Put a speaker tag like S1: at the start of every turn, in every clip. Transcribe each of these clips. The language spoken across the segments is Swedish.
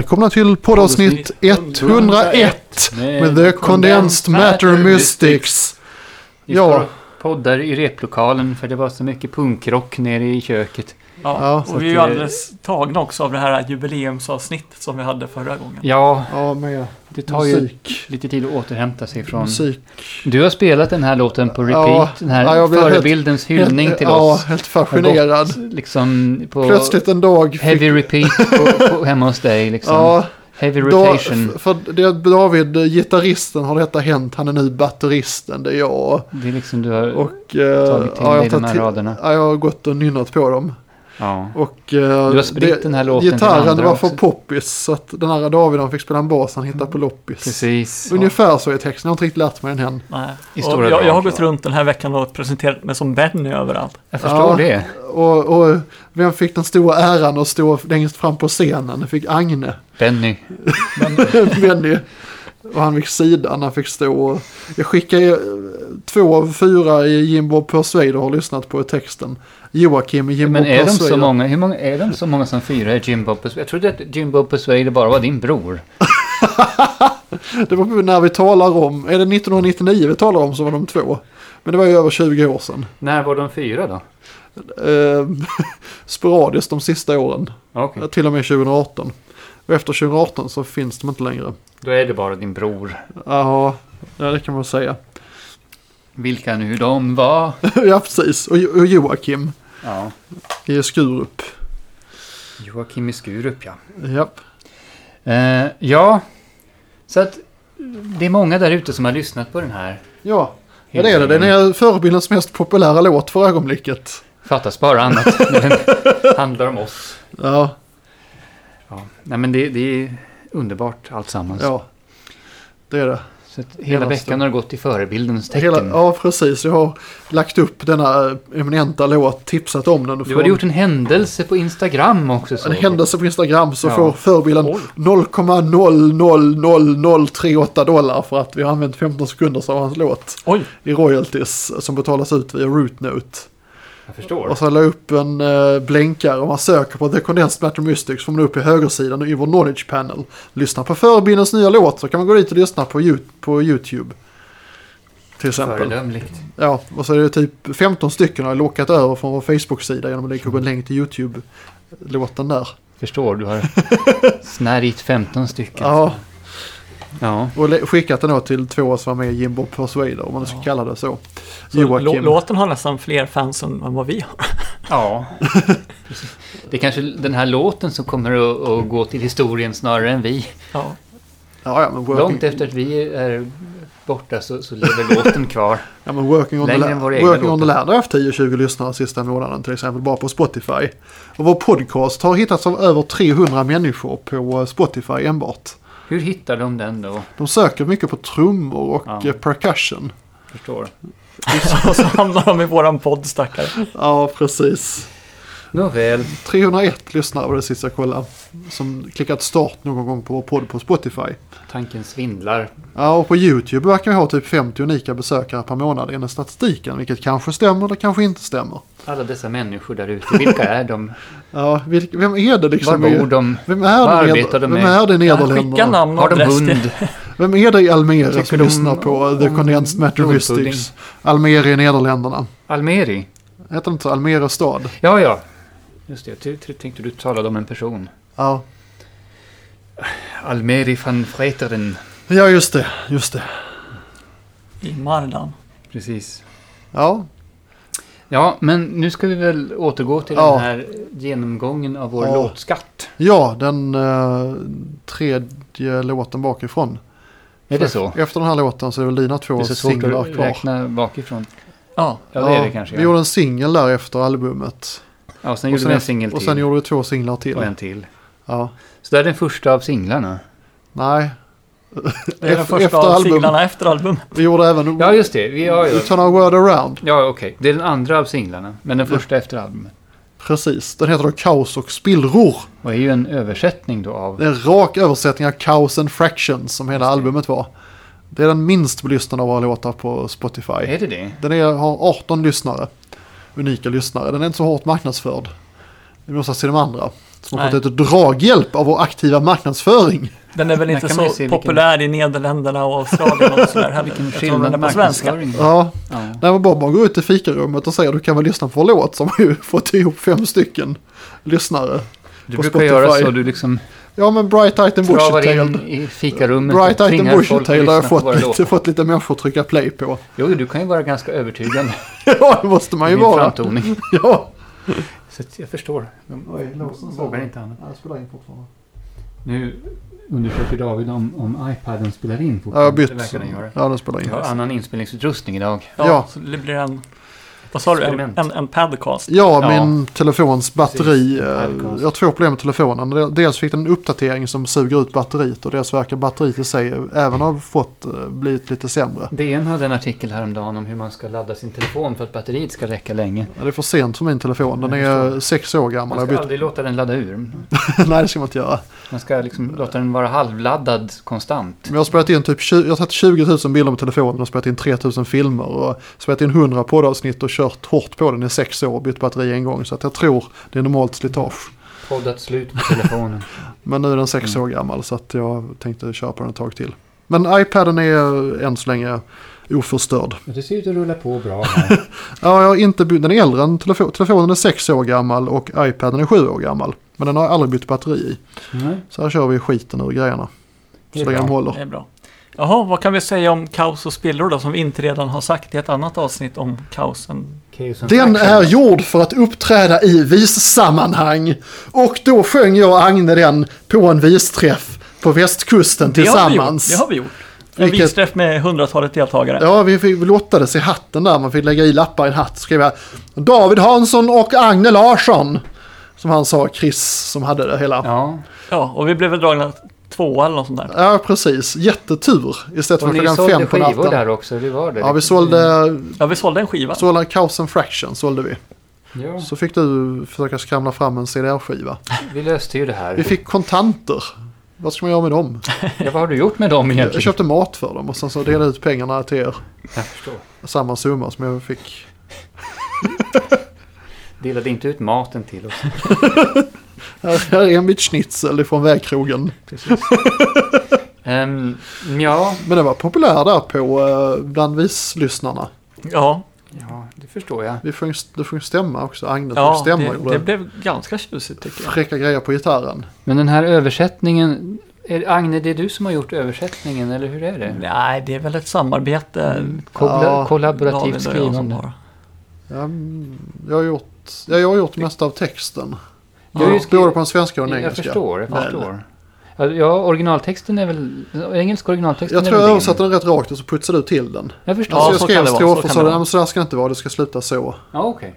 S1: Välkomna till poddavsnitt 101 med The Condensed Matter Mystics.
S2: Vi
S1: Ja.
S2: ja. poddar i replokalen för det var så mycket punkrock nere i köket.
S3: Ja,
S1: Ja, så
S3: och vi är ju
S2: att det-
S3: alldeles tagna också av det här jubileumsavsnittet som vi hade förra gången.
S2: Ja,
S1: Ja, med
S2: det tar ju
S1: musik.
S2: lite tid att återhämta sig från...
S1: Musik.
S2: Du har spelat den här låten på repeat.
S1: Ja,
S2: den här
S1: ja, jag blev
S2: förebildens hyllning till
S1: ja,
S2: oss.
S1: helt fascinerad.
S2: Liksom på
S1: Plötsligt en dag fick...
S2: heavy repeat på, på, hemma hos dig. Liksom.
S1: Ja,
S2: heavy
S1: då,
S2: rotation.
S1: f- för det, David, eh, gitarristen, har detta hänt. Han är nu batteristen, det är jag.
S2: det är liksom du har...
S1: Och... eh,
S2: Tagit till
S1: ja, jag
S2: dig de
S1: tar
S2: här
S1: till-
S2: raderna.
S1: Ja, jag har gått och nynnat på dem.
S2: ja.
S1: Och, eh,
S2: Du har spritt den här låten till
S1: Gitarren
S2: andra
S1: var för
S2: också.
S1: poppis. Så att den här David han fick spela en bas han hittade på loppis.
S2: Precis.
S1: Ungefär så är texten. Jag har inte riktigt lärt mig den än.
S3: Nej.
S2: I
S3: Och
S2: stora
S3: jag, jag
S2: drag,
S3: har gått
S2: ja.
S3: runt den här veckan och presenterat mig som Benny överallt.
S2: Jag förstår
S1: Ja.
S2: det.
S1: Och, och vem fick den stora äran att stå längst fram på scenen? Det fick Agne,
S2: Benny.
S1: Benny. Och han fick sidan, han fick stå. Jag skickade eh, två av fyra i Jim Bob Persuader har lyssnat på texten. Joakim i Jim
S2: Men
S1: Bob
S2: är de, så
S1: Persuader.
S2: många, hur många, är de så många som fyra i Jim Bob Persuader? Jag trodde att Jim Bob Persuader bara var din bror.
S1: Det var när vi talar om, är det 1999 vi talar om så var de två. Men det var ju över 20 år sedan.
S2: När var de fyra då?
S1: Eh, sporadiskt de sista åren.
S2: Okej,
S1: Till och med 2018. Och efter 2018 så finns de inte längre.
S2: då är det bara din bror.
S1: Jaha, ja det kan man säga.
S2: Vilka nu de var.
S1: ja, precis. Och, Jo- och Joakim
S2: Ja.
S1: i Skurup.
S2: Joakim i Skurup ja.
S1: Japp.
S2: Eh, ja, så att det är många där ute som har lyssnat på den här.
S1: Ja, ja det är det. Den är förebildens mest populära låt för ögonblicket.
S2: Fattas bara annat när den handlar om oss.
S1: Ja,
S2: Ja. Nej men det, det är underbart alltsammans.
S1: ja. Det är det.
S2: Så att hela
S1: Hela
S2: veckan
S1: stan.
S2: har gått i förebildens tecken.
S1: Hela, ja, precis. Jag har lagt upp denna eh, eminenta låt, tipsat om den.
S2: Du hade gjort en händelse på Instagram också.
S1: en
S2: såg jag.
S1: händelse på Instagram så
S2: Ja.
S1: får förebilden
S2: Oj.
S1: 0,000038 dollar för att vi har använt 15 sekunder av hans låt
S3: Oj!
S1: i royalties som betalas ut via Rootnote.
S2: Jag förstår.
S1: Och så la jag upp en eh, blänkare om man söker på The Condensed Matter Mystics får man upp i högersidan och i vår Knowledge Panel. Lyssna på förebildens nya låt så kan man gå dit och lyssna på, You- på YouTube. Till exempel.
S2: Föredömligt.
S1: Ja, och så är det typ 15 stycken har jag lockat över från vår Facebook-sida genom att lägga upp en länk till YouTube-låten där.
S2: Förstår, du har snärjt 15 stycken.
S1: Ja,
S2: Ja.
S1: och le- skickat den då till två som var med i Jimbo Persuader om man nu ska kalla det så.
S3: Så lå- låten har nästan fler fans än än vad vi har.
S2: ja. Precis. Det är kanske den här låten som kommer att, att gå till historien snarare än vi.
S3: Ja.
S1: Ja, ja, men
S2: Långt
S1: working,
S2: efter att vi är borta så, så lever låten kvar.
S1: ja, men working on the,
S2: Längre än våra
S1: la-
S2: egna
S1: working on the
S2: låtar.
S1: land har haft 10-20 lyssnare sista månaden till exempel bara på Spotify. Och vår podcast har hittats av över 300 människor på eh, Spotify enbart.
S2: Hur hittar de den då?
S1: De söker mycket på trummor och
S2: Ja.
S1: eh, percussion.
S2: Förstår.
S3: Och så hamnar de i våran podd stackare.
S1: Ja, precis.
S2: Nåväl.
S1: 301 lyssnare var det sist jag kollade. Som klickat start någon gång på vår podd på Spotify.
S2: Tanken svindlar.
S1: Ja, och på YouTube verkar vi ha typ 50 unika besökare per månad enligt statistiken. Vilket kanske stämmer eller kanske inte stämmer.
S2: Alla dessa människor där ute, vilka är de?
S1: Ja, vilk, vem är det
S2: Var
S1: liksom? i-
S2: bor de?
S1: Vem är
S2: Vad
S1: det, i-
S2: arbetar de
S1: vem
S2: med?
S1: är det i
S3: Skicka
S1: Nederländerna?
S3: namn och
S2: Har de
S3: adress
S2: hund?
S1: Vem är det i Almere
S2: Tycker
S1: som
S2: de
S1: lyssnar på The
S2: om
S1: Condensed Matter
S2: blodpudding?
S1: Mystics? Almere i Nederländerna.
S2: Almeri?
S1: Heter det inte så? Almere stad?
S2: Ja, ja. Just det, jag ty- ty- tänkte du talade om en person.
S1: Ja.
S2: Almeri van Vreteren.
S1: ja, just det. Just det.
S3: i Mardan.
S2: Precis.
S1: Ja,
S2: Ja, men nu ska vi väl återgå till
S1: Ja.
S2: den här genomgången av vår
S1: Ja.
S2: låtskatt.
S1: ja den eh, tredje låten bakifrån.
S2: Är det så?
S1: Efter den här låten så är det väl dina
S2: Det
S1: två
S2: är så svårt
S1: singlar
S2: att
S1: kvar.
S2: räkna bakifrån.
S3: Ja.
S2: Ja, det är det kanske.
S1: Vi
S2: Ja.
S1: gjorde en singel där efter albumet.
S2: Ja, och sen gjorde vi en singel
S1: och sen
S2: till
S1: gjorde vi två singlar till.
S2: och en till.
S1: Ja.
S2: Så det är den första av singlarna.
S1: Nej,
S3: Det är
S1: Efter-
S3: den första
S1: efter
S3: av
S1: album.
S3: singlarna efter album.
S1: vi gjorde även...
S2: Ja, just det. Vi, ja, ja.
S1: Utan a word around.
S2: ja okej. Det är den andra av singlarna, men den första efter albumet.
S1: Precis, den heter då Kaos och spillror.
S2: Och är ju en översättning då av...
S1: Det är en rak översättning av Kaos and Fractions som hela albumet var. Det är den minst lyssnade av våra låtar på Spotify.
S2: Är det det?
S1: Den är, har 18 lyssnare. Unika lyssnare. Den är inte så hårt marknadsförd. Vi måste se de andra. Som har
S3: Nej.
S1: fått lite draghjälp av vår aktiva marknadsföring.
S3: Den är väl
S2: Där
S3: inte
S2: kan
S3: så
S2: man ju se vilken-
S3: populär i Nederländerna och Australien och sådär heller.
S2: Vilken
S3: Jag tror den är
S2: skillnad
S3: på svenska.
S2: marknadsföring.
S1: Ja,
S2: Ja.
S1: när man bara går ut i fikarummet och säger du kan väl lyssna på vår låt som har ju fått ihop fem stycken lyssnare.
S2: Du
S1: På
S2: brukar
S1: Spotify.
S2: göra så, du liksom
S1: Ja men Bright Eyed and
S2: travar
S1: Bushy-tailed.
S2: in i fikarummet
S1: Bright
S2: och
S1: Eyed and
S2: tvingar folk att
S1: Bushy-tailed har
S2: lyssna
S1: jag
S2: på våra
S1: fått lite,
S2: låtar.
S1: fått lite människor att trycka play på.
S2: Jo, du kan ju vara ganska övertygande
S1: Ja det måste man
S2: i
S1: ju
S2: din
S1: vara.
S2: framtoning.
S1: Ja.
S2: Så att jag förstår.
S1: Oj, låsen så.
S2: vågar inte annat.
S1: Ja, Jag spelar in fortfarande.
S2: Nu undersöker David om, om iPaden spelar in
S1: Ja, jag har bytt.
S2: Det verkar den göra.
S1: Ja, den spelar
S2: Vi
S1: in.
S2: har annan inspelningsutrustning idag.
S3: Ja,
S1: Ja.
S3: Så det blir en... Vad sa du? En,
S2: Experiment.
S3: en, en podcast?
S1: Ja,
S2: Ja.
S1: min telefons batteri.
S2: Precis.
S1: eh,
S2: Icon's.
S1: Jag har två problem med telefonen. Dels fick den en uppdatering som suger ut batteriet och dels verkar batteriet i sig även ha fått eh, blivit lite sämre.
S2: DN hade en artikel häromdagen om hur man ska ladda sin telefon för att batteriet ska räcka länge.
S1: Ja, Det är för sent för min telefon. Den
S2: Jag
S1: är
S2: förstår.
S1: sex år gammal.
S2: Man
S1: Jag
S2: ska
S1: bytt...
S2: aldrig låta den ladda ur.
S1: Nej, det ska man inte göra.
S2: Man ska liksom låta den vara halvladdad konstant.
S1: Men jag har spelat in typ 20, jag har tagit 20 000 bilder med telefonen och spelat in 3 000 filmer och spelat in 100 poddavsnitt och kört hårt på den i sex år och bytt batteri en gång. Så att jag tror det är normalt slitage.
S2: Poddat slut på telefonen.
S1: Men nu är den sex år gammal så att jag tänkte köpa den ett tag till. Men iPaden är än så länge oförstörd.
S2: det ser ut att rulla på bra här.
S1: Ja, jag har inte bytt, den är äldre än telefon, telefonen är sex år gammal och iPaden är sju år gammal. Men den har jag aldrig bytt batteri i.
S2: Nej,
S1: Så här kör vi skiten ur grejerna.
S2: det
S1: Så
S2: är
S1: länge de
S2: bra.
S1: håller.
S3: Det är bra. Jaha, vad kan vi säga om kaos och spillror då som vi inte redan har sagt i ett annat avsnitt om kaosen?
S2: Chaos and
S1: Den
S2: Faction.
S1: är gjord för att uppträda i vissammanhang. Och då sjöng jag och Agne den på en visträff på västkusten tillsammans.
S3: Det har vi gjort. Det har vi gjort. En
S1: Vilket-
S3: visträff med hundratalet deltagare.
S1: Ja, vi fick, vi lottades i hatten där. Man fick lägga i lappar i en hatt. Skrev jag David Hansson och Agne Larsson. Som han sa, Chris som hade det hela. Ja,
S2: Ja,
S3: Ja, och vi blev väl dragna tvåa eller något sånt där.
S1: precis. Jättetur. Istället för
S2: och ni
S1: klockan fem
S2: sålde
S1: på
S2: skivor
S1: natten.
S2: där också, det var det.
S1: Ja, vi sålde,
S3: Ja, vi sålde en skiva.
S1: sålde Chaos and Fraction. Sålde vi.
S2: Ja,
S1: Så fick du försöka skramla fram en CDR-skiva.
S2: vi löste ju det här.
S1: Vi fick kontanter. Vad ska man göra med dem?
S2: Ja, vad har du gjort med dem egentligen?
S1: Jag köpte mat för dem och sen så delade jag ut pengarna till er.
S2: Jag förstår.
S1: Samma summa som jag fick.
S2: Delade inte ut maten till oss.
S1: Här, här är mitt schnitzel ifrån vägkrogen.
S2: Precis. Ehm, ja,
S1: Men det var populär där på eh, bland vislyssnarna.
S3: Ja,
S2: ja, det förstår jag.
S1: Vi sjöng, det sjöng stämma också. Agnes
S3: ja
S1: sjöng stämma och
S3: det,
S1: gjorde
S3: det blev ganska tjusigt tycker jag.
S1: fräcka grejer på gitarren.
S2: Men den här översättningen, är, Agne, det är du som har gjort översättningen, eller hur är det?
S3: Nej, det är väl ett samarbete.
S2: Kolla,
S1: Ja,
S3: David
S2: kollaborativt
S3: och jag som
S2: skrivande.
S3: har.
S1: Ja, mm, jag har gjort, ja, jag har gjort mest av texten.
S2: Du har ju
S1: Ja,
S2: skrivit-
S1: Både på den svenska och den
S2: Jag, jag
S1: engelska.
S2: förstår, jag
S1: Väl.
S2: förstår. Ja, Ja, originaltexten är väl... Engelska originaltexten
S1: Jag
S2: är
S1: tror
S2: väl
S1: jag
S2: din.
S1: översatte den rätt rakt och så putsade du till den.
S2: Jag förstår.
S3: Ja,
S1: alltså
S2: Ja,
S1: jag
S3: så
S1: skrev
S3: kan det vara,
S1: strof
S3: så
S1: och
S3: kan
S1: sa
S3: det
S1: "Nej,
S3: vara."
S1: men så där ska det inte vara, det ska sluta så.
S2: okej.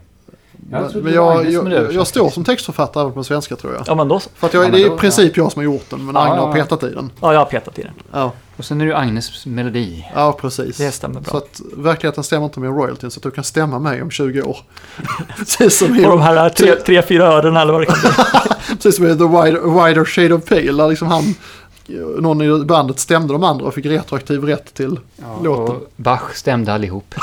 S1: Men,
S2: trodde
S1: men
S2: det var
S1: jag,
S2: Agnes som
S1: jag,
S2: hade
S1: jag,
S2: översatt.
S1: står som textförfattare även på den svenska tror jag.
S3: Ja, men då så.
S1: För att jag,
S2: Ja, men
S1: det är
S2: då-
S1: i princip jag som har gjort den, men
S2: Ja,
S1: Agne har
S2: ja, ja.
S1: petat i den.
S3: Ja, jag har petat i den.
S1: Ja,
S2: Och sen är det ju Agnes melodi.
S1: ja precis.
S3: Det stämmer bra.
S1: Så att verkligheten stämmer inte med royaltyn, så att du kan stämma mig om 20 år. precis, som i,
S3: Och de här eh, tre, tre fyra örena eller vad det kan bli.
S1: precis som i The Wider, Wider Shade of Pale, där liksom han, någon i bandet stämde de andra och fick retroaktiv rätt till låten.
S2: Och Bach stämde allihop.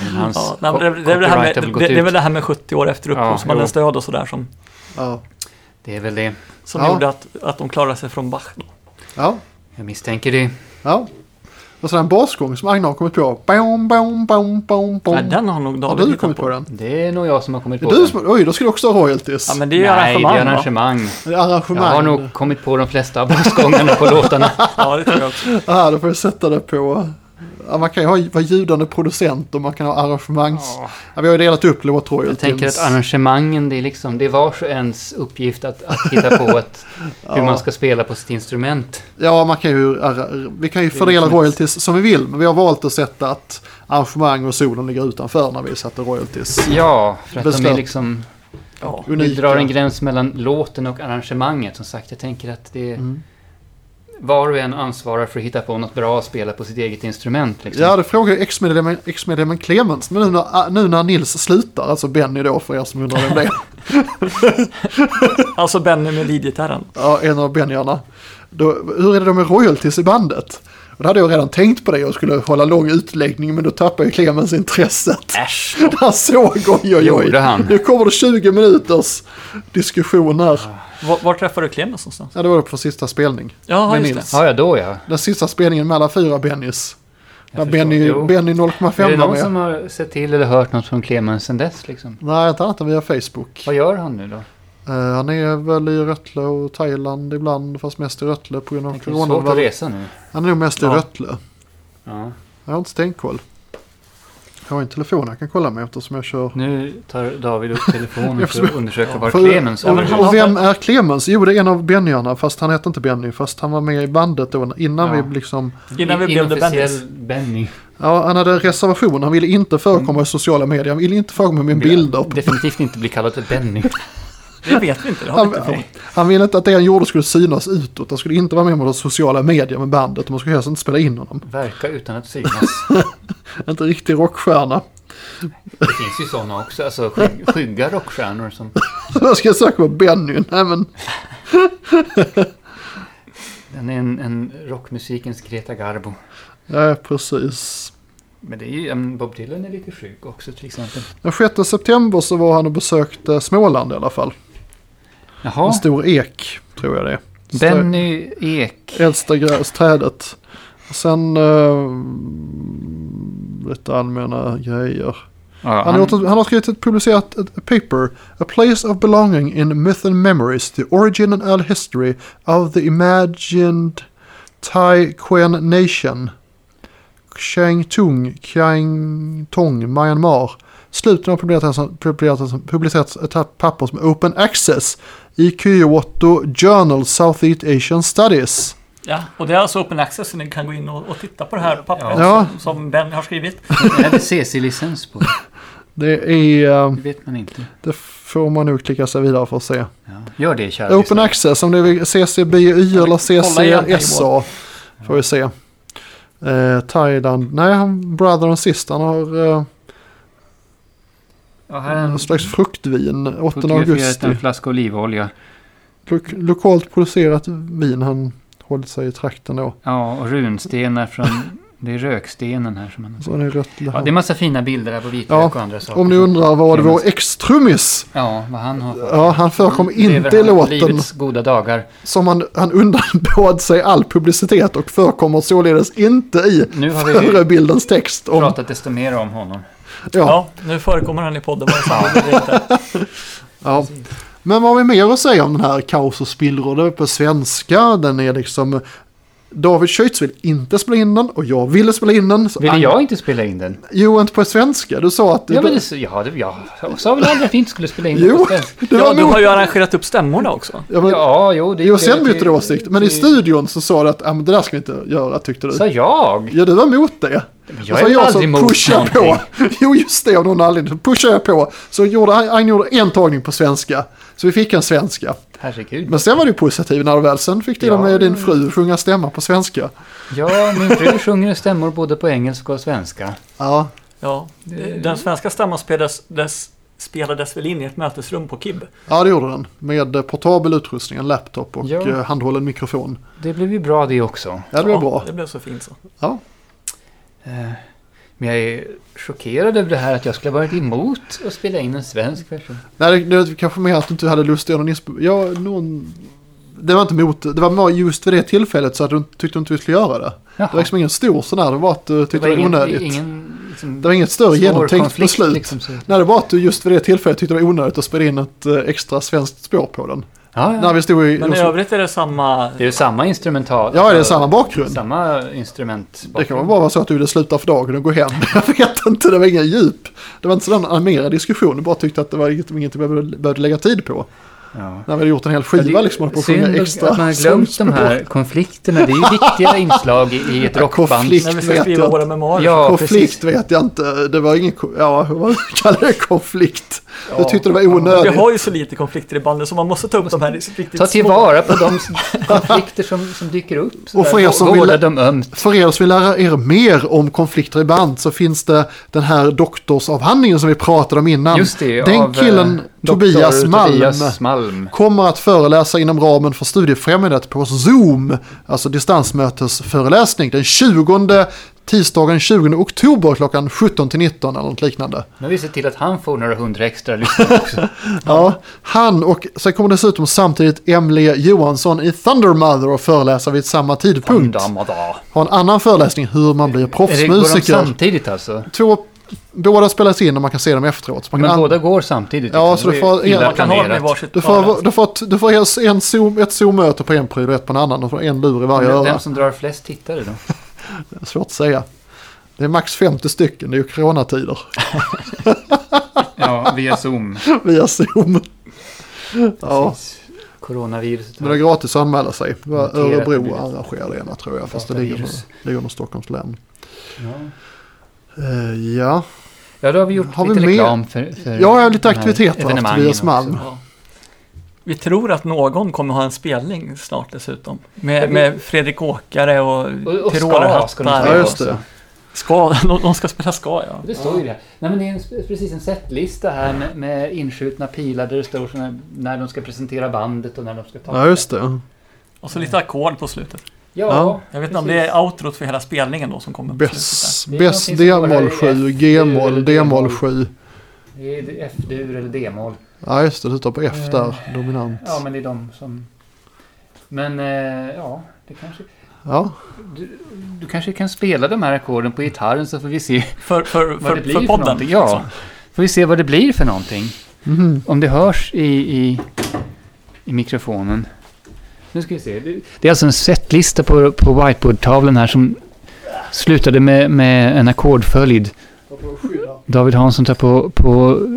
S2: Men hans
S3: Ja, nej, men det, det, är väl det, här med,
S2: copyright har väl
S3: det,
S2: gått
S3: det är väl
S2: ut.
S3: det här med 70 år efter
S2: Ja,
S3: upphovsmannens död och sådär som,
S1: Ja.
S2: Det är väl det.
S3: som
S1: Ja.
S3: gjorde att, att de klarade sig från Bach.
S1: ja,
S2: Jag misstänker det.
S1: ja. Och så den basgång som Agne har kommit på. Bom, bom, bom, bom, bom.
S3: Nej, den har nog
S1: har
S3: David
S1: du
S3: hittat
S1: kommit på den?
S2: Det är nog jag som har kommit
S1: Det
S2: på
S1: är du
S2: den.
S1: som, oj, då ska du också ha royalties.
S3: Ja, men det är
S2: Nej,
S3: ju
S2: det
S3: arrangemang.
S2: är
S3: va?
S2: arrangemang.
S1: Det är
S2: Jag
S1: arrangemang.
S2: har nog kommit på de flesta av basgångarna på låtarna.
S3: Ja, det tror jag också.
S1: Ja, då får du sätta det på... Ja, man kan ju ha, vara ljudande producent och man kan ha arrangemangs...
S2: Ja,
S1: Ja, vi har ju delat upp låt
S2: jag
S1: royalties.
S2: tänker att arrangemangen, det är liksom, det är vars och ens uppgift att, att hitta på ett, hur man ska spela på sitt instrument.
S1: Ja, man kan ju, arra- vi kan ju
S2: är
S1: fördela
S2: liksom ett-
S1: royalties som vi vill. Men vi har valt att sätta att arrangemang och solen ligger utanför när vi sätter royalties.
S2: Ja, för att de
S1: Bestämt.
S2: är liksom,
S3: Ja.
S2: vi
S1: Unika.
S2: drar en gräns mellan låten och arrangemanget. Som sagt, jag tänker att det är,
S1: Mm.
S2: var och en ansvarar för att hitta på något bra att spela på sitt eget instrument. Liksom.
S1: Ja, det frågar ju ex-medlemmen- ex-medlemmen Clemens. Men nu när, nu när Nils slutar, alltså Benny då för er som undrar vem det är.
S3: Alltså Benny med leadgitarren.
S1: Ja, en av Benjarna. Då, hur är det då med royalties i bandet? Och då hade jag redan tänkt på det, jag skulle hålla lång utläggning men då tappade ju Clemens intresset.
S2: Äsch.
S1: Han såg, oj oj oj.
S2: Gjorde han?
S1: Nu kommer det 20 minuters diskussion här.
S3: Var, var träffar du Clemens någonstans?
S1: Ja, det var på sista spelning.
S3: Ja,
S1: Med
S3: just
S1: Nils.
S3: det.
S2: Ja, ja, då ja.
S1: Den sista spelningen med alla fyra Bennys. Där
S2: förstår.
S1: Benny,
S2: Jo.
S1: Benny
S2: Är det
S1: 0,5 var
S2: någon
S1: med.
S2: som har sett till eller hört något från Clemens sen dess? Liksom?
S1: Nej, inte annat än via Facebook.
S2: Vad gör han nu då?
S1: Eh, han är väl i Rötle och Thailand ibland, fast mest i Rötle på grund av
S2: Det är svårt
S1: corona.
S2: att resa nu.
S1: Han är nog mest i
S3: Ja.
S1: Rötle.
S2: Ja.
S1: Jag har inte stenkoll. Jag har en telefon jag kan kolla med eftersom jag kör.
S2: Nu tar David upp telefonen för att
S1: Eftersom-
S2: undersöka var
S1: För-
S2: Clemens
S1: ja,
S2: är.
S1: men,
S3: han-
S1: och vem är Clemens? Jo, det är en av Bennyarna, fast han hette inte Benny, fast han var med i bandet då innan
S2: Ja.
S1: vi liksom...
S3: Innan vi blev The Bendis.
S2: Inofficiell Benny.
S1: Ja, han hade en reservation, han ville inte förekomma i sociala medier, han ville inte förekomma med bilder. på-
S2: Definitivt inte bli kallad för Benny.
S3: Det vet vi inte. Det har vi
S1: Han,
S3: inte
S1: han,
S3: fått.
S1: han ville inte att det han gjorde skulle synas utåt, han skulle inte vara med på de sociala medier med bandet, och man skulle helst inte spela in honom.
S2: Verka utan att synas.
S1: Inte riktig rockstjärna.
S2: Det finns ju sådana också. Alltså sky- skygga rockstjärnor som...
S1: Vad ska jag söka på Benny? Nej men,
S2: Den är en, en rockmusikens Greta Garbo.
S1: ja, precis.
S2: Men det är ju, ja, men Bob Dylan är lite sjuk också till exempel.
S1: Den 6 september så var han och besökte Småland i alla fall. En
S2: Jaha,
S1: stor ek, tror jag det är.
S2: Benny Ek.
S1: Äldsta grästrädet. Och Sen eh, lite allmänna grejer.
S2: Ja,
S1: Han, har gjort ett, han har skrivit ett publicerat ett paper. A place of belonging in myth and memories. The origin and all history of the imagined Thai Quen nation. Chiang Tung, Chiang Tong, Myanmar. Slutligen har publicerats, publicerats, publicerats ett papper som är open access i Kyoto Journal Southeast Asian Studies.
S3: Ja, och det är alltså open access så ni kan gå in och, och titta på det här pappret
S1: Ja.
S3: som, som Benny har skrivit.
S2: Är det CC-licens på?
S1: Det är... eh,
S2: Det vet man inte.
S1: Det får man nog klicka sig vidare för att se.
S2: Ja. Gör det kära
S1: Open
S2: lyssnare.
S1: access, om det är CCBY eller
S3: igen,
S1: CCSA. Får vi se. Eh, Thailand, nej han brother and sister, han har eh,
S2: Ja, här är en
S1: någon slags fruktvin 8
S2: fotograferat
S1: augusti.
S2: en flaska olivolja.
S1: Lok- lokalt producerat vin, han hållit sig i trakten då.
S2: Ja, och runstenar från... Det är rökstenen här som man...
S1: Så han är rätt
S2: Ja, det är massa fina bilder här på vitlök
S1: Ja,
S2: och andra saker.
S1: Om ni undrar vad vår ex-trummis,
S2: Ja, vad han har...
S1: ja han förekom
S2: Lever
S1: inte i
S2: han
S1: låten.
S2: Livets goda dagar.
S1: Som han, han undanbad sig all publicitet och förekommer således inte i
S2: Nu har vi
S1: förebildens text. Om,
S2: Pratat desto mer om honom.
S1: ja,
S3: Ja, nu förekommer han i podden. Vare sig han vill eller inte.
S1: ja. Men vad har vi mer att säga om den här Kaos och spillror? Den är på svenska, den är liksom... David Schütz vill inte spela in den och jag ville spela in den. Så
S2: Ville jag inte spela in den?
S1: Jo, inte på svenska. Du sa att...
S2: Ja, men det, ja, det, jag sa väl aldrig att vi inte skulle spela in den
S1: Jo,
S2: på svenska?
S1: det
S3: Ja,
S1: var
S3: du
S1: nog...
S3: har ju arrangerat upp stämmorna också.
S1: Ja, men,
S2: Ja, jo, det
S1: jo,
S2: gick över
S1: sen bytte
S2: till-
S1: du åsikt. Men i
S2: till-
S1: studion så sa du att ah, men det där ska vi inte göra, tyckte du.
S2: Sa jag?
S1: Ja, du var emot det.
S2: jag
S1: Och så
S2: är väl
S1: jag
S2: aldrig
S1: som
S2: emot
S1: pushade på. Jo, just det, av någon anledning. Så pushade jag på. Så gjorde, han han gjorde en tagning på svenska. Så vi fick en svenska.
S2: Herregud.
S1: Men sen var det ju positiv när du väl sen fick till och
S2: Ja.
S1: med din fru sjunga stämma på svenska.
S2: Ja, min fru sjunger stämmor både på engelska och svenska.
S1: Ja,
S3: Ja, den svenska stämman spelades, dess, spelades väl in i ett mötesrum på KIB.
S1: ja det gjorde den. Med eh, portabel utrustning, en laptop och
S2: Ja.
S1: eh, handhållen mikrofon.
S2: Det blev ju bra det också.
S1: Ja, det blev
S3: ja,
S1: bra.
S3: Det blev så fint så.
S1: Ja.
S2: Eh, Men jag är chockerad över det här att jag skulle ha varit emot att spela in en svensk version.
S1: Nej, det, det var kanske mer att du inte hade lust att göra någon insp- Ja, någon... Det var inte mot, det var bara just vid det tillfället så att du inte- tyckte inte vi skulle göra det.
S2: Jaha.
S1: Det var liksom ingen stor sån här, det var att du
S2: Det
S1: tyckte
S2: var
S1: det var
S2: ingen,
S1: onödigt.
S2: ingen liksom,
S1: Det var inget större
S2: svår
S1: genomtänkt
S2: konflikt,
S1: beslut.
S2: liksom, så.
S1: Nej, det var att du just vid det tillfället tyckte det var onödigt att spela in ett eh, extra svenskt spår på den.
S2: Ja, ja.
S1: När vi stod i...
S3: Men i övrigt är det samma...
S2: Det är ju samma instrumental.
S1: Ja, det är
S2: alltså,
S1: samma bakgrund.
S2: Samma instrument.
S1: Det kan väl bara vara så att du ville sluta för dagen och gå hem. Jag vet inte, det var ingen djup. Det var inte sådan animerad diskussion, du bara tyckte att det var inget, inget vi behövde, behövde lägga tid på.
S2: Ja.
S1: När vi hade gjort en hel
S2: Ja,
S1: skiva liksom, och höll på att sjunga
S2: synd
S1: extra.
S2: att man har glömt de här konflikterna. Det är ju viktiga inslag i, i ett rockband.
S1: konflikt.
S3: När vi
S1: vet
S3: ska skriva
S1: jag
S3: våra
S1: inte.
S3: memoarer.
S2: Ja,
S1: konflikt
S2: precis.
S1: vet jag inte, det var ingen, ko- ja vad kallar jag det konflikt?
S3: Ja.
S1: Du tyckte det var
S3: Vi
S1: onödigt.
S3: har ju så lite konflikter i bandet så man måste ta upp de här riktigt
S2: Ta tillvara på de konflikter som, som dyker upp.
S1: Och för er som
S2: Vårda
S1: vill-
S2: dem ömt.
S1: För er som vill lära er mer om konflikter i band så finns det den här doktorsavhandlingen som vi pratade om innan.
S2: Just det,
S1: den
S2: av eh,
S1: killen, Tobias
S2: Dr.
S1: Malm.
S2: Tobias Malm.
S1: kommer att föreläsa inom ramen för Studiefrämjandet på Zoom, alltså distansmötesföreläsning, den 20 tisdagen 20 oktober klockan 17 till 19 eller något liknande.
S2: Nu har vi sett till att han får några hundra extra lyssnare också.
S1: Ja, han och sen kommer dessutom samtidigt Emily Johansson i Thundermother och föreläsa vid samma tidpunkt.
S2: Damada.
S1: Har en annan föreläsning hur man blir
S2: Är det, går de
S1: proffsmusiker.
S2: samtidigt alltså?
S1: Två, båda spelas in och man kan se dem efteråt. Så man
S2: Men
S1: kan an-
S2: båda går samtidigt?
S1: Ja, så
S2: liksom.
S1: du
S2: Det är
S1: får-
S2: illa
S1: man
S3: Man kan ha dem i
S2: planerat.
S3: varsitt
S1: du
S3: öra.
S1: får, du får, du får en, en zoom, ett Zoom-möte på en pryd och ett på en annan. Du får en lur i varje öra.
S2: Vem som drar flest tittare då?
S1: Svårt att säga. Det är max 50 stycken, det är ju coronatider.
S2: Ja, via Zoom.
S1: Via Zoom. Ja,
S2: Precis. Coronaviruset.
S1: men det är gratis att anmäla sig. Det var
S2: Noterat
S1: Örebro
S2: virus.
S1: arrangerar det ena tror jag, fast det ligger,
S2: Datavirus.
S1: under- ligger under Stockholms län.
S2: Ja.
S1: Eh, ja,
S2: Ja, då har vi gjort
S1: Har vi
S2: lite
S1: mer?
S2: reklam för, för
S1: jag har lite
S2: de här
S1: aktiviteter haft
S2: evenemangen
S1: Tobias Malm.
S2: också.
S3: Ja. Vi tror att någon kommer ha en spelning snart dessutom. Med, med Fredrik Åkare
S2: Och-
S3: och,
S2: och ska ska de
S3: pyrolerhattar.
S1: Ja,
S2: spela.
S3: och-
S1: just det.
S3: Ska, de, de ska spela ska ja.
S2: Det står ju det. här. Nej, men det är en, sp- precis en setlista här med, med inskjutna pilar där det står såna, här- när de ska presentera bandet och när de ska ta
S1: Ja, just det.
S3: Och så lite ackord på slutet.
S2: Ja,
S1: Ja.
S3: Jag vet inte om det är outrot för hela spelningen då som kommer på slutet.
S1: Bess,
S2: Det är
S1: Bess
S2: någonting som går
S1: D-moll
S2: där i
S1: 7,
S2: F,
S1: G-moll,
S2: eller
S1: D-moll
S2: D-moll.
S1: 7.
S2: Det är F-dur eller D-moll.
S1: Ja, just det, det står på F där, dominant.
S2: Eh, Ja, men det är de som... Men eh, ja, det kanske...
S1: Ja,
S2: Du, du kanske kan spela de här ackorden på gitarren så får vi se
S3: där. För, för,
S2: vad
S3: för,
S2: det blir
S3: för
S2: för
S3: podden.
S2: någonting. Ja, får vi se vad det blir för någonting.
S1: Mhm.
S2: Om det hörs i, i, i mikrofonen. Nu ska vi se. Det- Det är alltså en setlista på, på whiteboardtavlan här som slutade med, med en ackordföljd. David Hansson tar på, på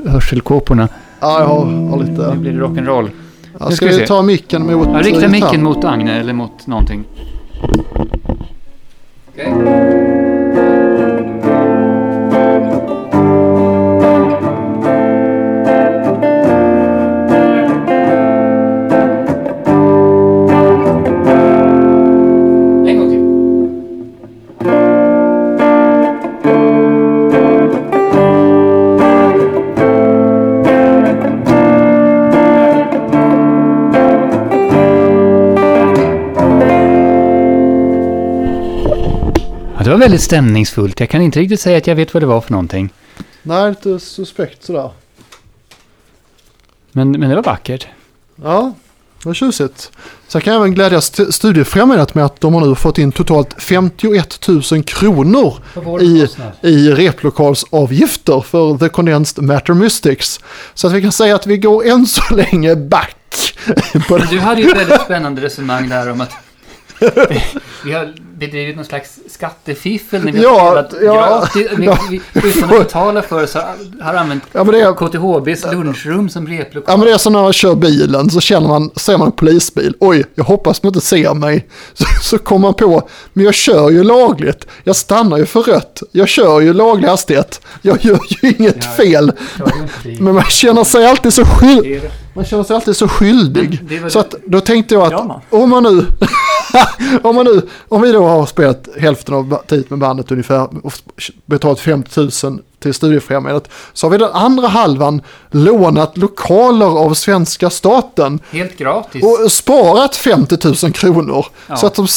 S2: hörselkåporna.
S1: ja jag har, har
S2: Nu
S1: lite.
S2: blir det rock'n'roll.
S1: Ja,
S2: Nu
S1: ska
S2: ska vi
S1: vi
S2: se.
S1: ta micken mot
S2: Ja, rikta
S1: gitarren?
S2: micken mot Agne eller mot någonting. En gång till. Ja, det var väldigt stämningsfullt. Jag kan inte riktigt säga att jag vet vad det var för någonting.
S1: Nej, lite suspekt sådär.
S2: Men, men det var vackert.
S1: Ja, vad tjusigt. Sen kan jag även glädja st- Studiefrämjandet med att de har nu fått in totalt 51 000 kronor i, i replokalsavgifter för The Condensed Matter Mystics. Så att vi kan säga att vi går än så länge back. på det.
S2: Du hade ju ett väldigt spännande resonemang där om att vi har bedrivit någon slags skattefiffel när vi
S1: Ja,
S2: har spelat
S1: ja,
S2: gratis. Vi,
S1: ja.
S2: vi, utan att betala för så har- har använt
S1: Ja men det är...
S2: KTHBs lunchrum som replokal.
S1: Ja men det är som när man kör bilen så känner man, ser man en polisbil, oj jag hoppas de inte ser mig. Så, så kommer man på, men jag kör ju lagligt, jag stannar ju för rött, jag kör ju laglig hastighet, jag gör ju inget
S2: Ja.
S1: fel.
S2: Det var ju inte vi.
S1: Men man känner sig alltid så skyldig.
S2: Det är-
S1: Man känner sig alltid så skyldig.
S2: Men det var-
S1: Så att, då tänkte jag
S3: Gör
S1: att
S3: man?
S1: om man nu... om man nu... Om vi då har spelat hälften av ba- tiden med bandet ungefär och betalat 50 000 till Studiefrämjandet så har vi den andra halvan lånat lokaler av svenska staten
S2: Helt gratis.
S1: och sparat 50 000 kronor.
S2: Ja.
S1: Så att som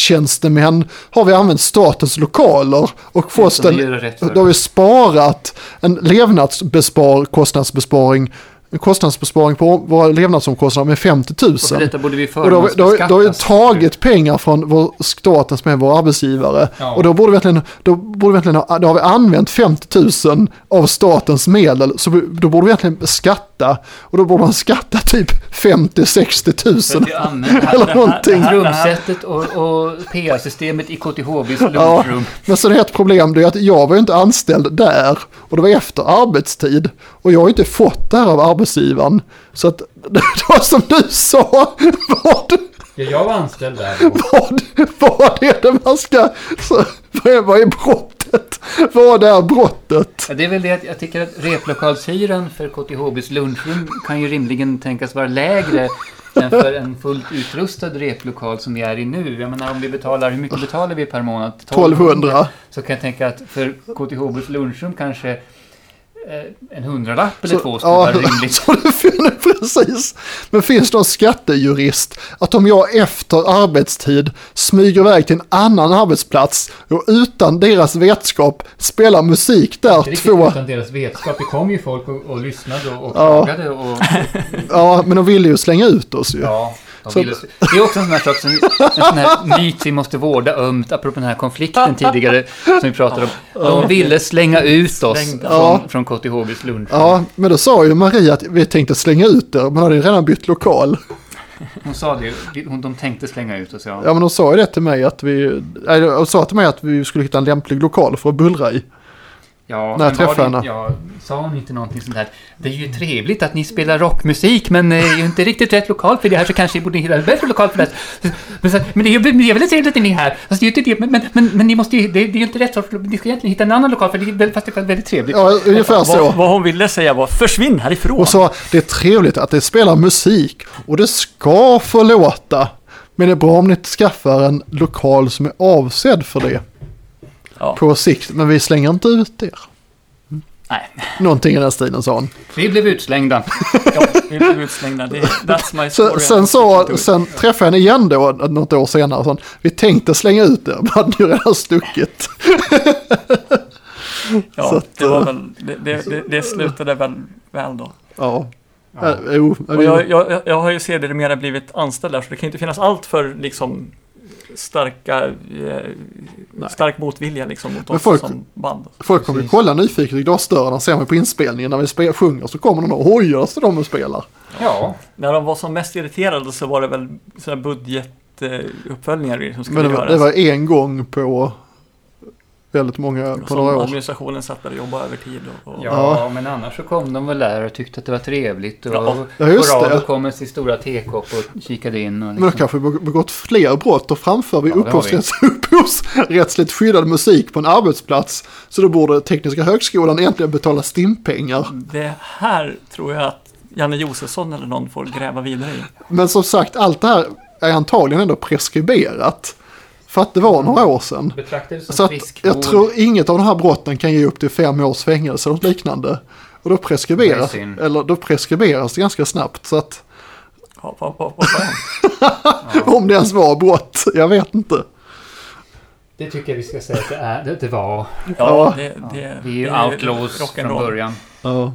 S1: statstjänstemän har vi använt statens lokaler och fått
S2: som vi
S1: en,
S2: gör rätt för.
S1: då har vi sparat en levnadsbespar, kostnadsbesparing, en kostnadsbesparing på våra levnadsomkostnader med 50 000.
S2: Och för detta borde vi
S1: Och då, har vi- då, har vi- då har vi
S2: förmånsbeskattas.
S1: tagit pengar från vår staten som är vår arbetsgivare.
S2: Ja.
S1: Och då borde vi verkligen, då borde vi verkligen ha, då har vi använt 50 000 av statens medel. Så vi- då borde vi egentligen beskatta. Och då borde man skatta typ 50-60
S2: För
S1: 000
S2: att vi använder här-
S1: eller någonting.
S2: Trumsetet och, och PA-systemet i KTHBs
S1: Ja,
S2: lunchrum.
S1: men sen är ett problem det är att jag var ju inte anställd där och det var efter arbetstid. Och jag har ju inte fått det här av arbetsgivaren. Så att det var som du sa, vad,
S2: Ja, jag var anställd där då.
S1: vad, vad är det man ska... Så, vad, är, vad är brottet? Vad är brottet?
S2: Ja, det är väl det att jag tycker att replokalshyran för KTHBs lunchrum kan ju rimligen tänkas vara lägre än för en fullt utrustad replokal som vi är i nu. Jag menar om vi betalar, hur mycket betalar vi per månad?
S1: 1200.
S2: Så kan jag tänka att för KTHBs lunchrum kanske eh, en hundralapp eller
S1: Så-
S2: två skulle
S1: ja.
S2: vara rimligt.
S1: Så det fyller precis. Men finns det någon skattejurist att om jag efter arbetstid smyger iväg till en annan arbetsplats och utan deras vetskap spelar musik där
S2: Inte riktigt
S1: två...
S2: utan deras vetskap. Det kom ju folk och, och lyssnade och, och
S1: Ja.
S2: klagade och...
S1: Ja, men de ville ju slänga ut oss ju.
S2: Ja, de
S1: Så-
S2: ville, det är också en sån här sak som, en sån här myt vi måste vårda ömt, apropå den här konflikten tidigare som vi pratade om. De ville slänga ut oss
S3: Slängda.
S1: Ja.
S2: från, från KTHBs lunch.
S1: Ja, men då sa ju Maria att vi tänkte slänga ut er, men hade ju redan bytt lokal.
S2: Hon sa det, hon, de tänkte slänga ut oss. Ja.
S1: Ja, men de sa ju det till mig att vi... Nej, de sa till mig att vi skulle hitta en lämplig lokal för att bullra i.
S2: Ja,
S1: När jag
S2: men var
S1: träffade
S2: det-
S1: henne.
S2: Ja, sa hon inte någonting sånt här? Det är ju trevligt att ni spelar rockmusik, men det är ju inte riktigt rätt lokal för det här, så kanske ni borde hitta en bättre lokal för det här. Men, så, men det är ju men det är väldigt trevligt att ni är här. Alltså, det är ju inte det, men, men, men, men ni måste ju, det, det är ju inte rätt sorts, ni ska egentligen hitta en annan lokal, för det är, väl- fast det är väldigt trevligt.
S1: Ja, ungefär så.
S3: Vad, vad hon ville säga var försvinn härifrån.
S1: Och sa det är trevligt att det spelar musik och det ska få låta. Men det är bra om ni inte skaffar en lokal som är avsedd för det
S3: ja.
S1: på sikt. Men vi slänger inte ut er.
S2: Nej.
S1: Någonting i den stilen sa han.
S2: Vi blev utslängda.
S3: ja, vi blev utslängda. Det, that's my
S1: Sen,
S3: story.
S1: sen, så, sen träffade jag henne igen då, något år senare. och sa, vi tänkte slänga ut er, men hade ju redan stuckit. så
S3: ja,
S1: att, eh,
S3: det, var väl, det, det, det, det slutade väl väl då.
S1: Ja. Äh, jo,
S3: Och jag, jag, jag har ju sedermera blivit anställd där, så det kan ju inte finnas allt för liksom starka, eh, stark motvilja liksom mot
S1: Men
S3: oss
S1: folk-
S3: som band.
S1: Folk kommer ju kolla nyfiket i glasdörrarna och ser mig på inspelningen när vi spe- sjunger så kommer de och hojar så de och spelar.
S2: Ja.
S3: När de var som mest irriterade så var det väl sådana budgetuppföljningar eh, som skulle
S1: Men det var,
S3: göras.
S1: det var en gång på väldigt många, på
S3: som liksom.
S1: några år.
S3: administrationen satt där och jobbade över tid. Och, och,
S1: Ja.
S2: Ja, men annars så kom de väl där och tyckte att det var trevligt. Och
S3: Ja.
S1: Ja, just
S2: och
S1: det.
S2: Rado kom med sin stora tekopp och kikade in. Och
S1: Men då
S2: liksom.
S1: kanske vi beg- begått fler brott och framför vi
S2: Ja, det har vi.
S1: upphovsrätts- upphovsrättsligt skyddad musik på en arbetsplats. Så då borde Tekniska högskolan egentligen betala stimpengar.
S3: Det här tror jag att Janne Josefsson eller någon får gräva vidare i.
S1: Men som sagt, allt det här är antagligen ändå preskriberat. För att det var några år sedan.
S2: Betraktades som
S1: Så att Alltså, jag
S2: friskvård.
S1: tror inget av de här brotten kan ge upp till fem års fängelse eller något liknande. Och då
S2: Det är
S1: preskriberas,
S2: synd.
S1: eller då preskriberas det ganska snabbt. Så att
S3: Ja, vad- vad- vad sa jag?
S1: om det ens var brott, jag vet inte.
S2: Det tycker jag vi ska säga att det, är, det, det var.
S1: Ja.
S3: ja, det, det,
S2: Vi är ju
S3: det
S2: outlaws
S3: rock'n'roll.
S2: från början.
S1: Ja.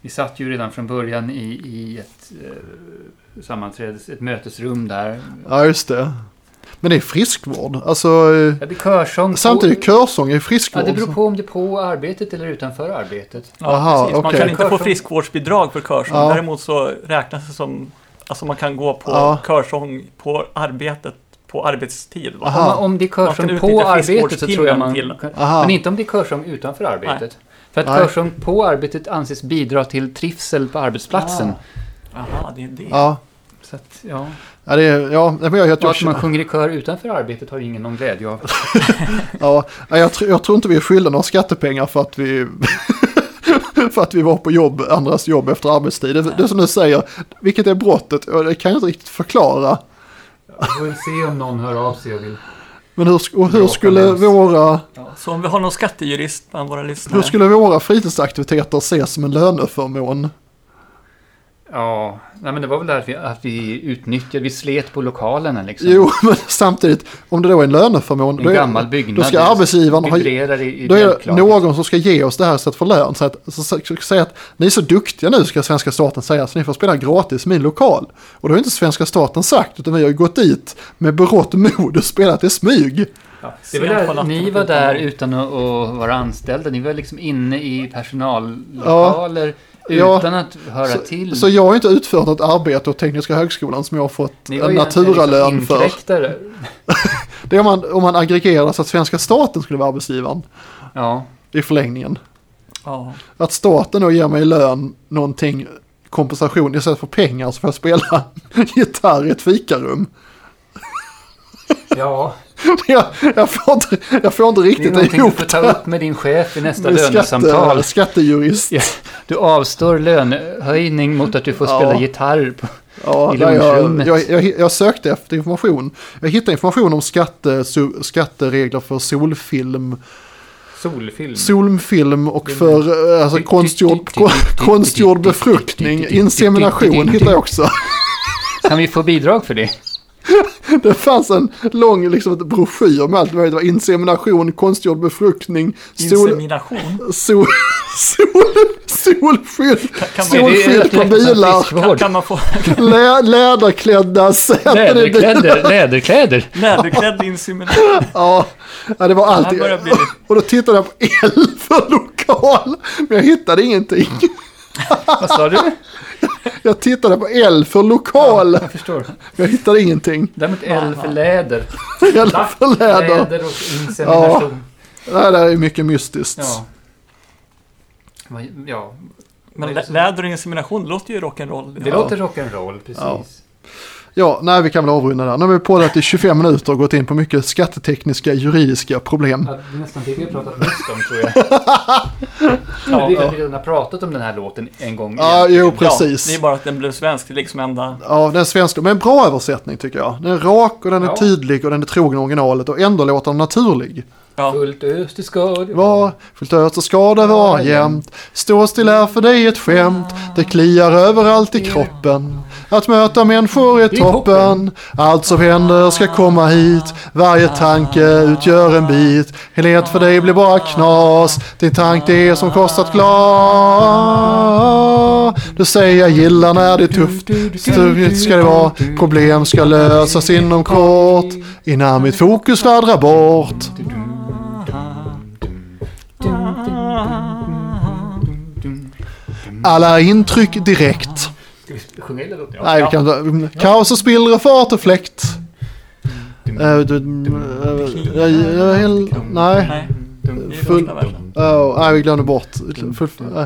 S2: Vi satt ju redan från början i, i ett eh, sammanträdes, ett mötesrum där.
S1: ja, just det. Men det är friskvård. Alltså, eh,
S2: Ja, det är körsång. på-
S1: samtidigt körsång är
S2: Ja,
S1: friskvård.
S2: det beror på om det är på arbetet eller utanför arbetet.
S3: Ja,
S1: Aha,
S3: precis. Man
S1: okej.
S3: kan inte få friskvårdsbidrag för körsång.
S1: Ja.
S3: Däremot så räknas det som, alltså man kan gå på
S1: Ja.
S3: körsång på arbetet på arbetstid. Va?
S1: Aha.
S2: Om, om det är
S3: Man kan
S2: körsång
S3: utnyttja
S2: på arbetet så tror jag man...
S3: friskvårdstimmen
S1: Aha.
S2: Men inte om det är körsång utanför arbetet. För att
S1: Nej.
S2: körsång på arbetet anses bidra till trivsel på arbetsplatsen.
S1: Ah.
S3: Aha, det är det.
S1: Ja,
S2: Så att, ja.
S1: ja, det är, ja men jag, jag,
S2: Och
S1: jag,
S2: att man sjunger i kör utanför arbetet har ju ingen någon glädje av.
S1: ja, jag, tror- jag tror inte vi är skyldiga några skattepengar för att vi... för att vi var på jobb, andras jobb efter arbetstid. Det, det som du säger, vilket är brottet, och det kan jag inte riktigt förklara.
S2: Vi får väl se om någon hör av sig och vill...
S1: Men hur, sk- och hur
S2: Bråka
S1: skulle
S2: med oss.
S1: våra...
S3: Så om vi har någon skattejurist bland våra lyssnare.
S1: Hur skulle våra fritidsaktiviteter ses som en löneförmån?
S2: Ja, nej, men det var väl där att vi, att vi utnyttjade, vi slet på lokalerna liksom.
S1: Jo, men samtidigt, om det då är en löneförmån,
S2: en
S1: då, är,
S2: gammal byggnad.
S1: då ska arbetsgivaren ha...
S2: vibrerar i, i
S1: Då är det
S2: bjälklaget.
S1: någon som ska ge oss det här istället för lön. Så att, så, så, så, säga att ni är så duktiga nu, ska svenska staten säga, så ni får spela gratis i min lokal. Och det har inte svenska staten sagt, utan vi har ju gått dit med berått mod och spelat i smyg.
S2: Ja, det var
S3: Sent på
S2: där,
S3: natten
S2: ni
S3: och
S2: var
S3: utan
S2: där
S3: jobb.
S2: utan att, att vara anställda. Ni var liksom inne i personallokaler
S1: Ja.
S2: utan att höra
S1: Så,
S2: till.
S1: så jag har inte utfört något arbete åt Tekniska Högskolan som jag har fått
S2: ni var
S1: en
S2: ju egentligen
S1: naturalön
S2: liksom
S1: för.
S2: inkräktare.
S1: Det är om man, om man aggregerar så att svenska staten skulle vara arbetsgivaren
S2: Ja,
S1: i förlängningen.
S3: Ja.
S1: Att staten då ger mig i lön någonting kompensation istället för pengar så får jag spela gitarr i ett fikarum.
S2: ja.
S1: Jag, jag, får, inte, jag får inte
S2: det är
S1: riktigt
S2: någonting du
S1: ihop
S2: får ta upp med din chef i nästa
S1: med
S2: lönesamtal.
S1: skatte, skattejurist.
S2: Ja, Du avstår lönehöjning mot att du får
S1: Ja.
S2: spela gitarr. På.
S1: Ja,
S2: I
S1: där jag,
S2: lunchrummet.
S1: jag, jag, jag sökte efter information. Jag hittade information om skatte, su, skatteregler för solfilm.
S2: Solfilm.
S1: Solfilm och för eh, alltså, konstgjord, konstgjord befruktning, insemination hittar jag också.
S2: Kan vi få bidrag för det?
S1: Det fanns en lång liksom, ett broschyr med allt möjligt. Det var insemination, konstgjord befruktning, sol,
S3: Insemination?
S1: sol, sol, solskydd,
S3: kan man-
S1: solskydd på bilar,
S3: Kan, kan man få
S1: lä, läderklädda säten i bilar.
S2: Läderkläder, läderkläder.
S3: läderklädd insemination?
S1: Ja, ja, det var
S3: Det här
S1: allt.
S3: börjar bli lite...
S1: Och då tittade jag på el för lokal, men jag hittade ingenting.
S2: Vad sa du?
S1: Jag tittade på el för lokal,
S2: Jag förstår.
S1: jag hittade ingenting.
S2: Däremot L för läder.
S1: El för läder.
S2: Läder och insemination.
S1: Det här är mycket mystiskt.
S2: Ja. Vad- ja.
S3: Men lä- läder och insemination låter ju rock'n'roll.
S2: Det låter rock'n'roll, precis.
S1: Ja, nej vi kan väl avrunda där. Nu har vi poddat i 25 minuter och gått in på mycket skattetekniska, juridiska problem.
S2: Ja. Det är nästan det vi har pratat mest om, tror jag. ja, vi har redan har pratat om den här låten en gång.
S1: Ja,
S2: igen.
S1: jo
S3: Ja, det
S1: precis.
S3: är bara att den blev svensk, det är liksom enda...
S1: Ja, den svenska, men en bra översättning tycker jag. Den är rak och den är
S2: Ja.
S1: tydlig och den är trogen originalet och ändå låter den naturlig.
S3: Ja.
S2: Fullt ös, det ska det
S1: Var fullt ös och skada var jämt. Stå still är för dig ett skämt. Det kliar överallt i kroppen. Att möta människor är toppen. Allt som händer ska komma hit. Varje tanke utgör en bit. Helhet för dig blir bara knas. Din tanke är som kostat glas. Du säger jag gillar när det är tufft. Stugigt ska det vara. Problem ska lösas inom kort. Innan mitt fokus fladdrar bort. Alla intryck direkt.
S2: Ska vi sjunga hela låten?
S1: Nej, vi kan inte. Kaos och spillror, fart och fläkt. Eh, du- eh, jag- jag- jag- Nej.
S3: Nej.
S2: Dum,
S3: Det är
S1: Full-
S3: första versen.
S1: Oh, nej, vi glömde bort. Full- eh,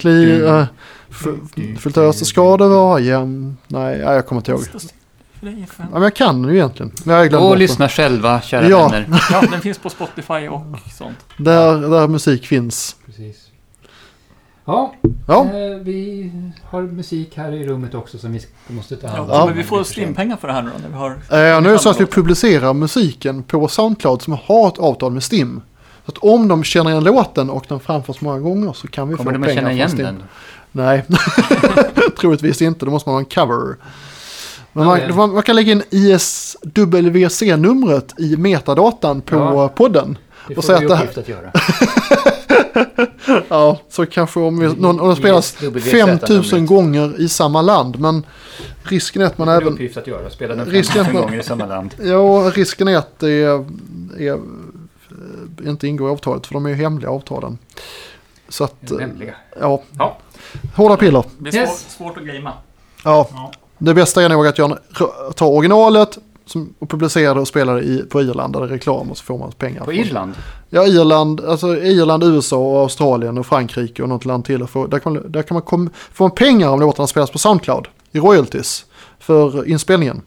S1: Kli... eh, fu- Fullt ös och skador var jämn. Nej, nej, jag kommer inte ihåg.
S3: Stå still för dig, fan.
S1: Ja, men jag kan den ju egentligen. Men jag glömde
S2: Gå och
S1: bort
S2: lyssna själva, kära
S1: Ja.
S2: vänner.
S3: Ja, den finns på Spotify och sånt.
S1: den. Där, där musik finns.
S2: Precis. Ja,
S1: Ja,
S2: eh, vi har musik här i rummet också som vi sk- måste ta hand om.
S3: Ja, Men vi får stimpengar för det här nu då, när vi har...
S1: eh, nu är det så att vi publicerar musiken på Soundcloud som har ett avtal med Stim. Så att om de känner igen låten och den framförs många gånger så kan vi
S2: Kommer
S1: få
S2: de
S1: pengar
S2: att känna
S1: från Stim.
S2: igen den?
S1: Nej, troligtvis inte. Då måste man ha en cover. Men
S2: Ja,
S1: man,
S2: ja.
S1: man, man kan lägga in ISWC-numret i metadatan på
S2: Ja.
S1: eh, podden.
S2: Det
S1: Och
S2: får
S1: säga
S2: vi
S1: att det här-
S2: uppgift att göra.
S1: Ja, så kanske om, vi, någon, om det spelas
S2: ISWC
S1: 5000
S2: numret.
S1: gånger i samma land. Men risken är att man
S2: Det är
S1: även...
S2: uppgift att göra. Spela den
S1: Risken
S2: 15
S1: för-
S2: gånger i samma land.
S1: Ja, risken är att det är, är, eh, inte ingår i avtalet. För de är ju hemliga avtalen. Så att, eh,
S2: Nämligen.
S1: ja.
S2: Ja.
S1: Hårda piller.
S3: Det blir svår,
S2: Yes.
S3: svårt att gamea.
S1: Ja.
S3: Ja.
S1: Det bästa är nog att jag tar originalet som, och publicerar det och spelar det i, på Irland där det är reklam och så får man pengar.
S2: På
S1: från-
S2: Irland?
S1: Ja, Irland, alltså Irland, USA och Australien och Frankrike och något land till. Och få, där kan man, där kan man kom, får man pengar om låtarna spelas på Soundcloud i royalties för inspelningen.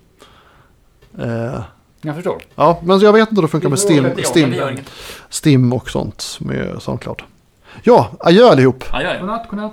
S1: Eh,
S2: Jag förstår.
S1: ja, men jag vet inte hur det funkar med
S2: Vi får
S1: Stim,
S2: åka till
S1: Stim,
S3: Det gör inget.
S1: Stim och sånt med Soundcloud. Ja, adjö allihop.
S3: Ja, ja, ja.
S2: Godnatt, godnatt.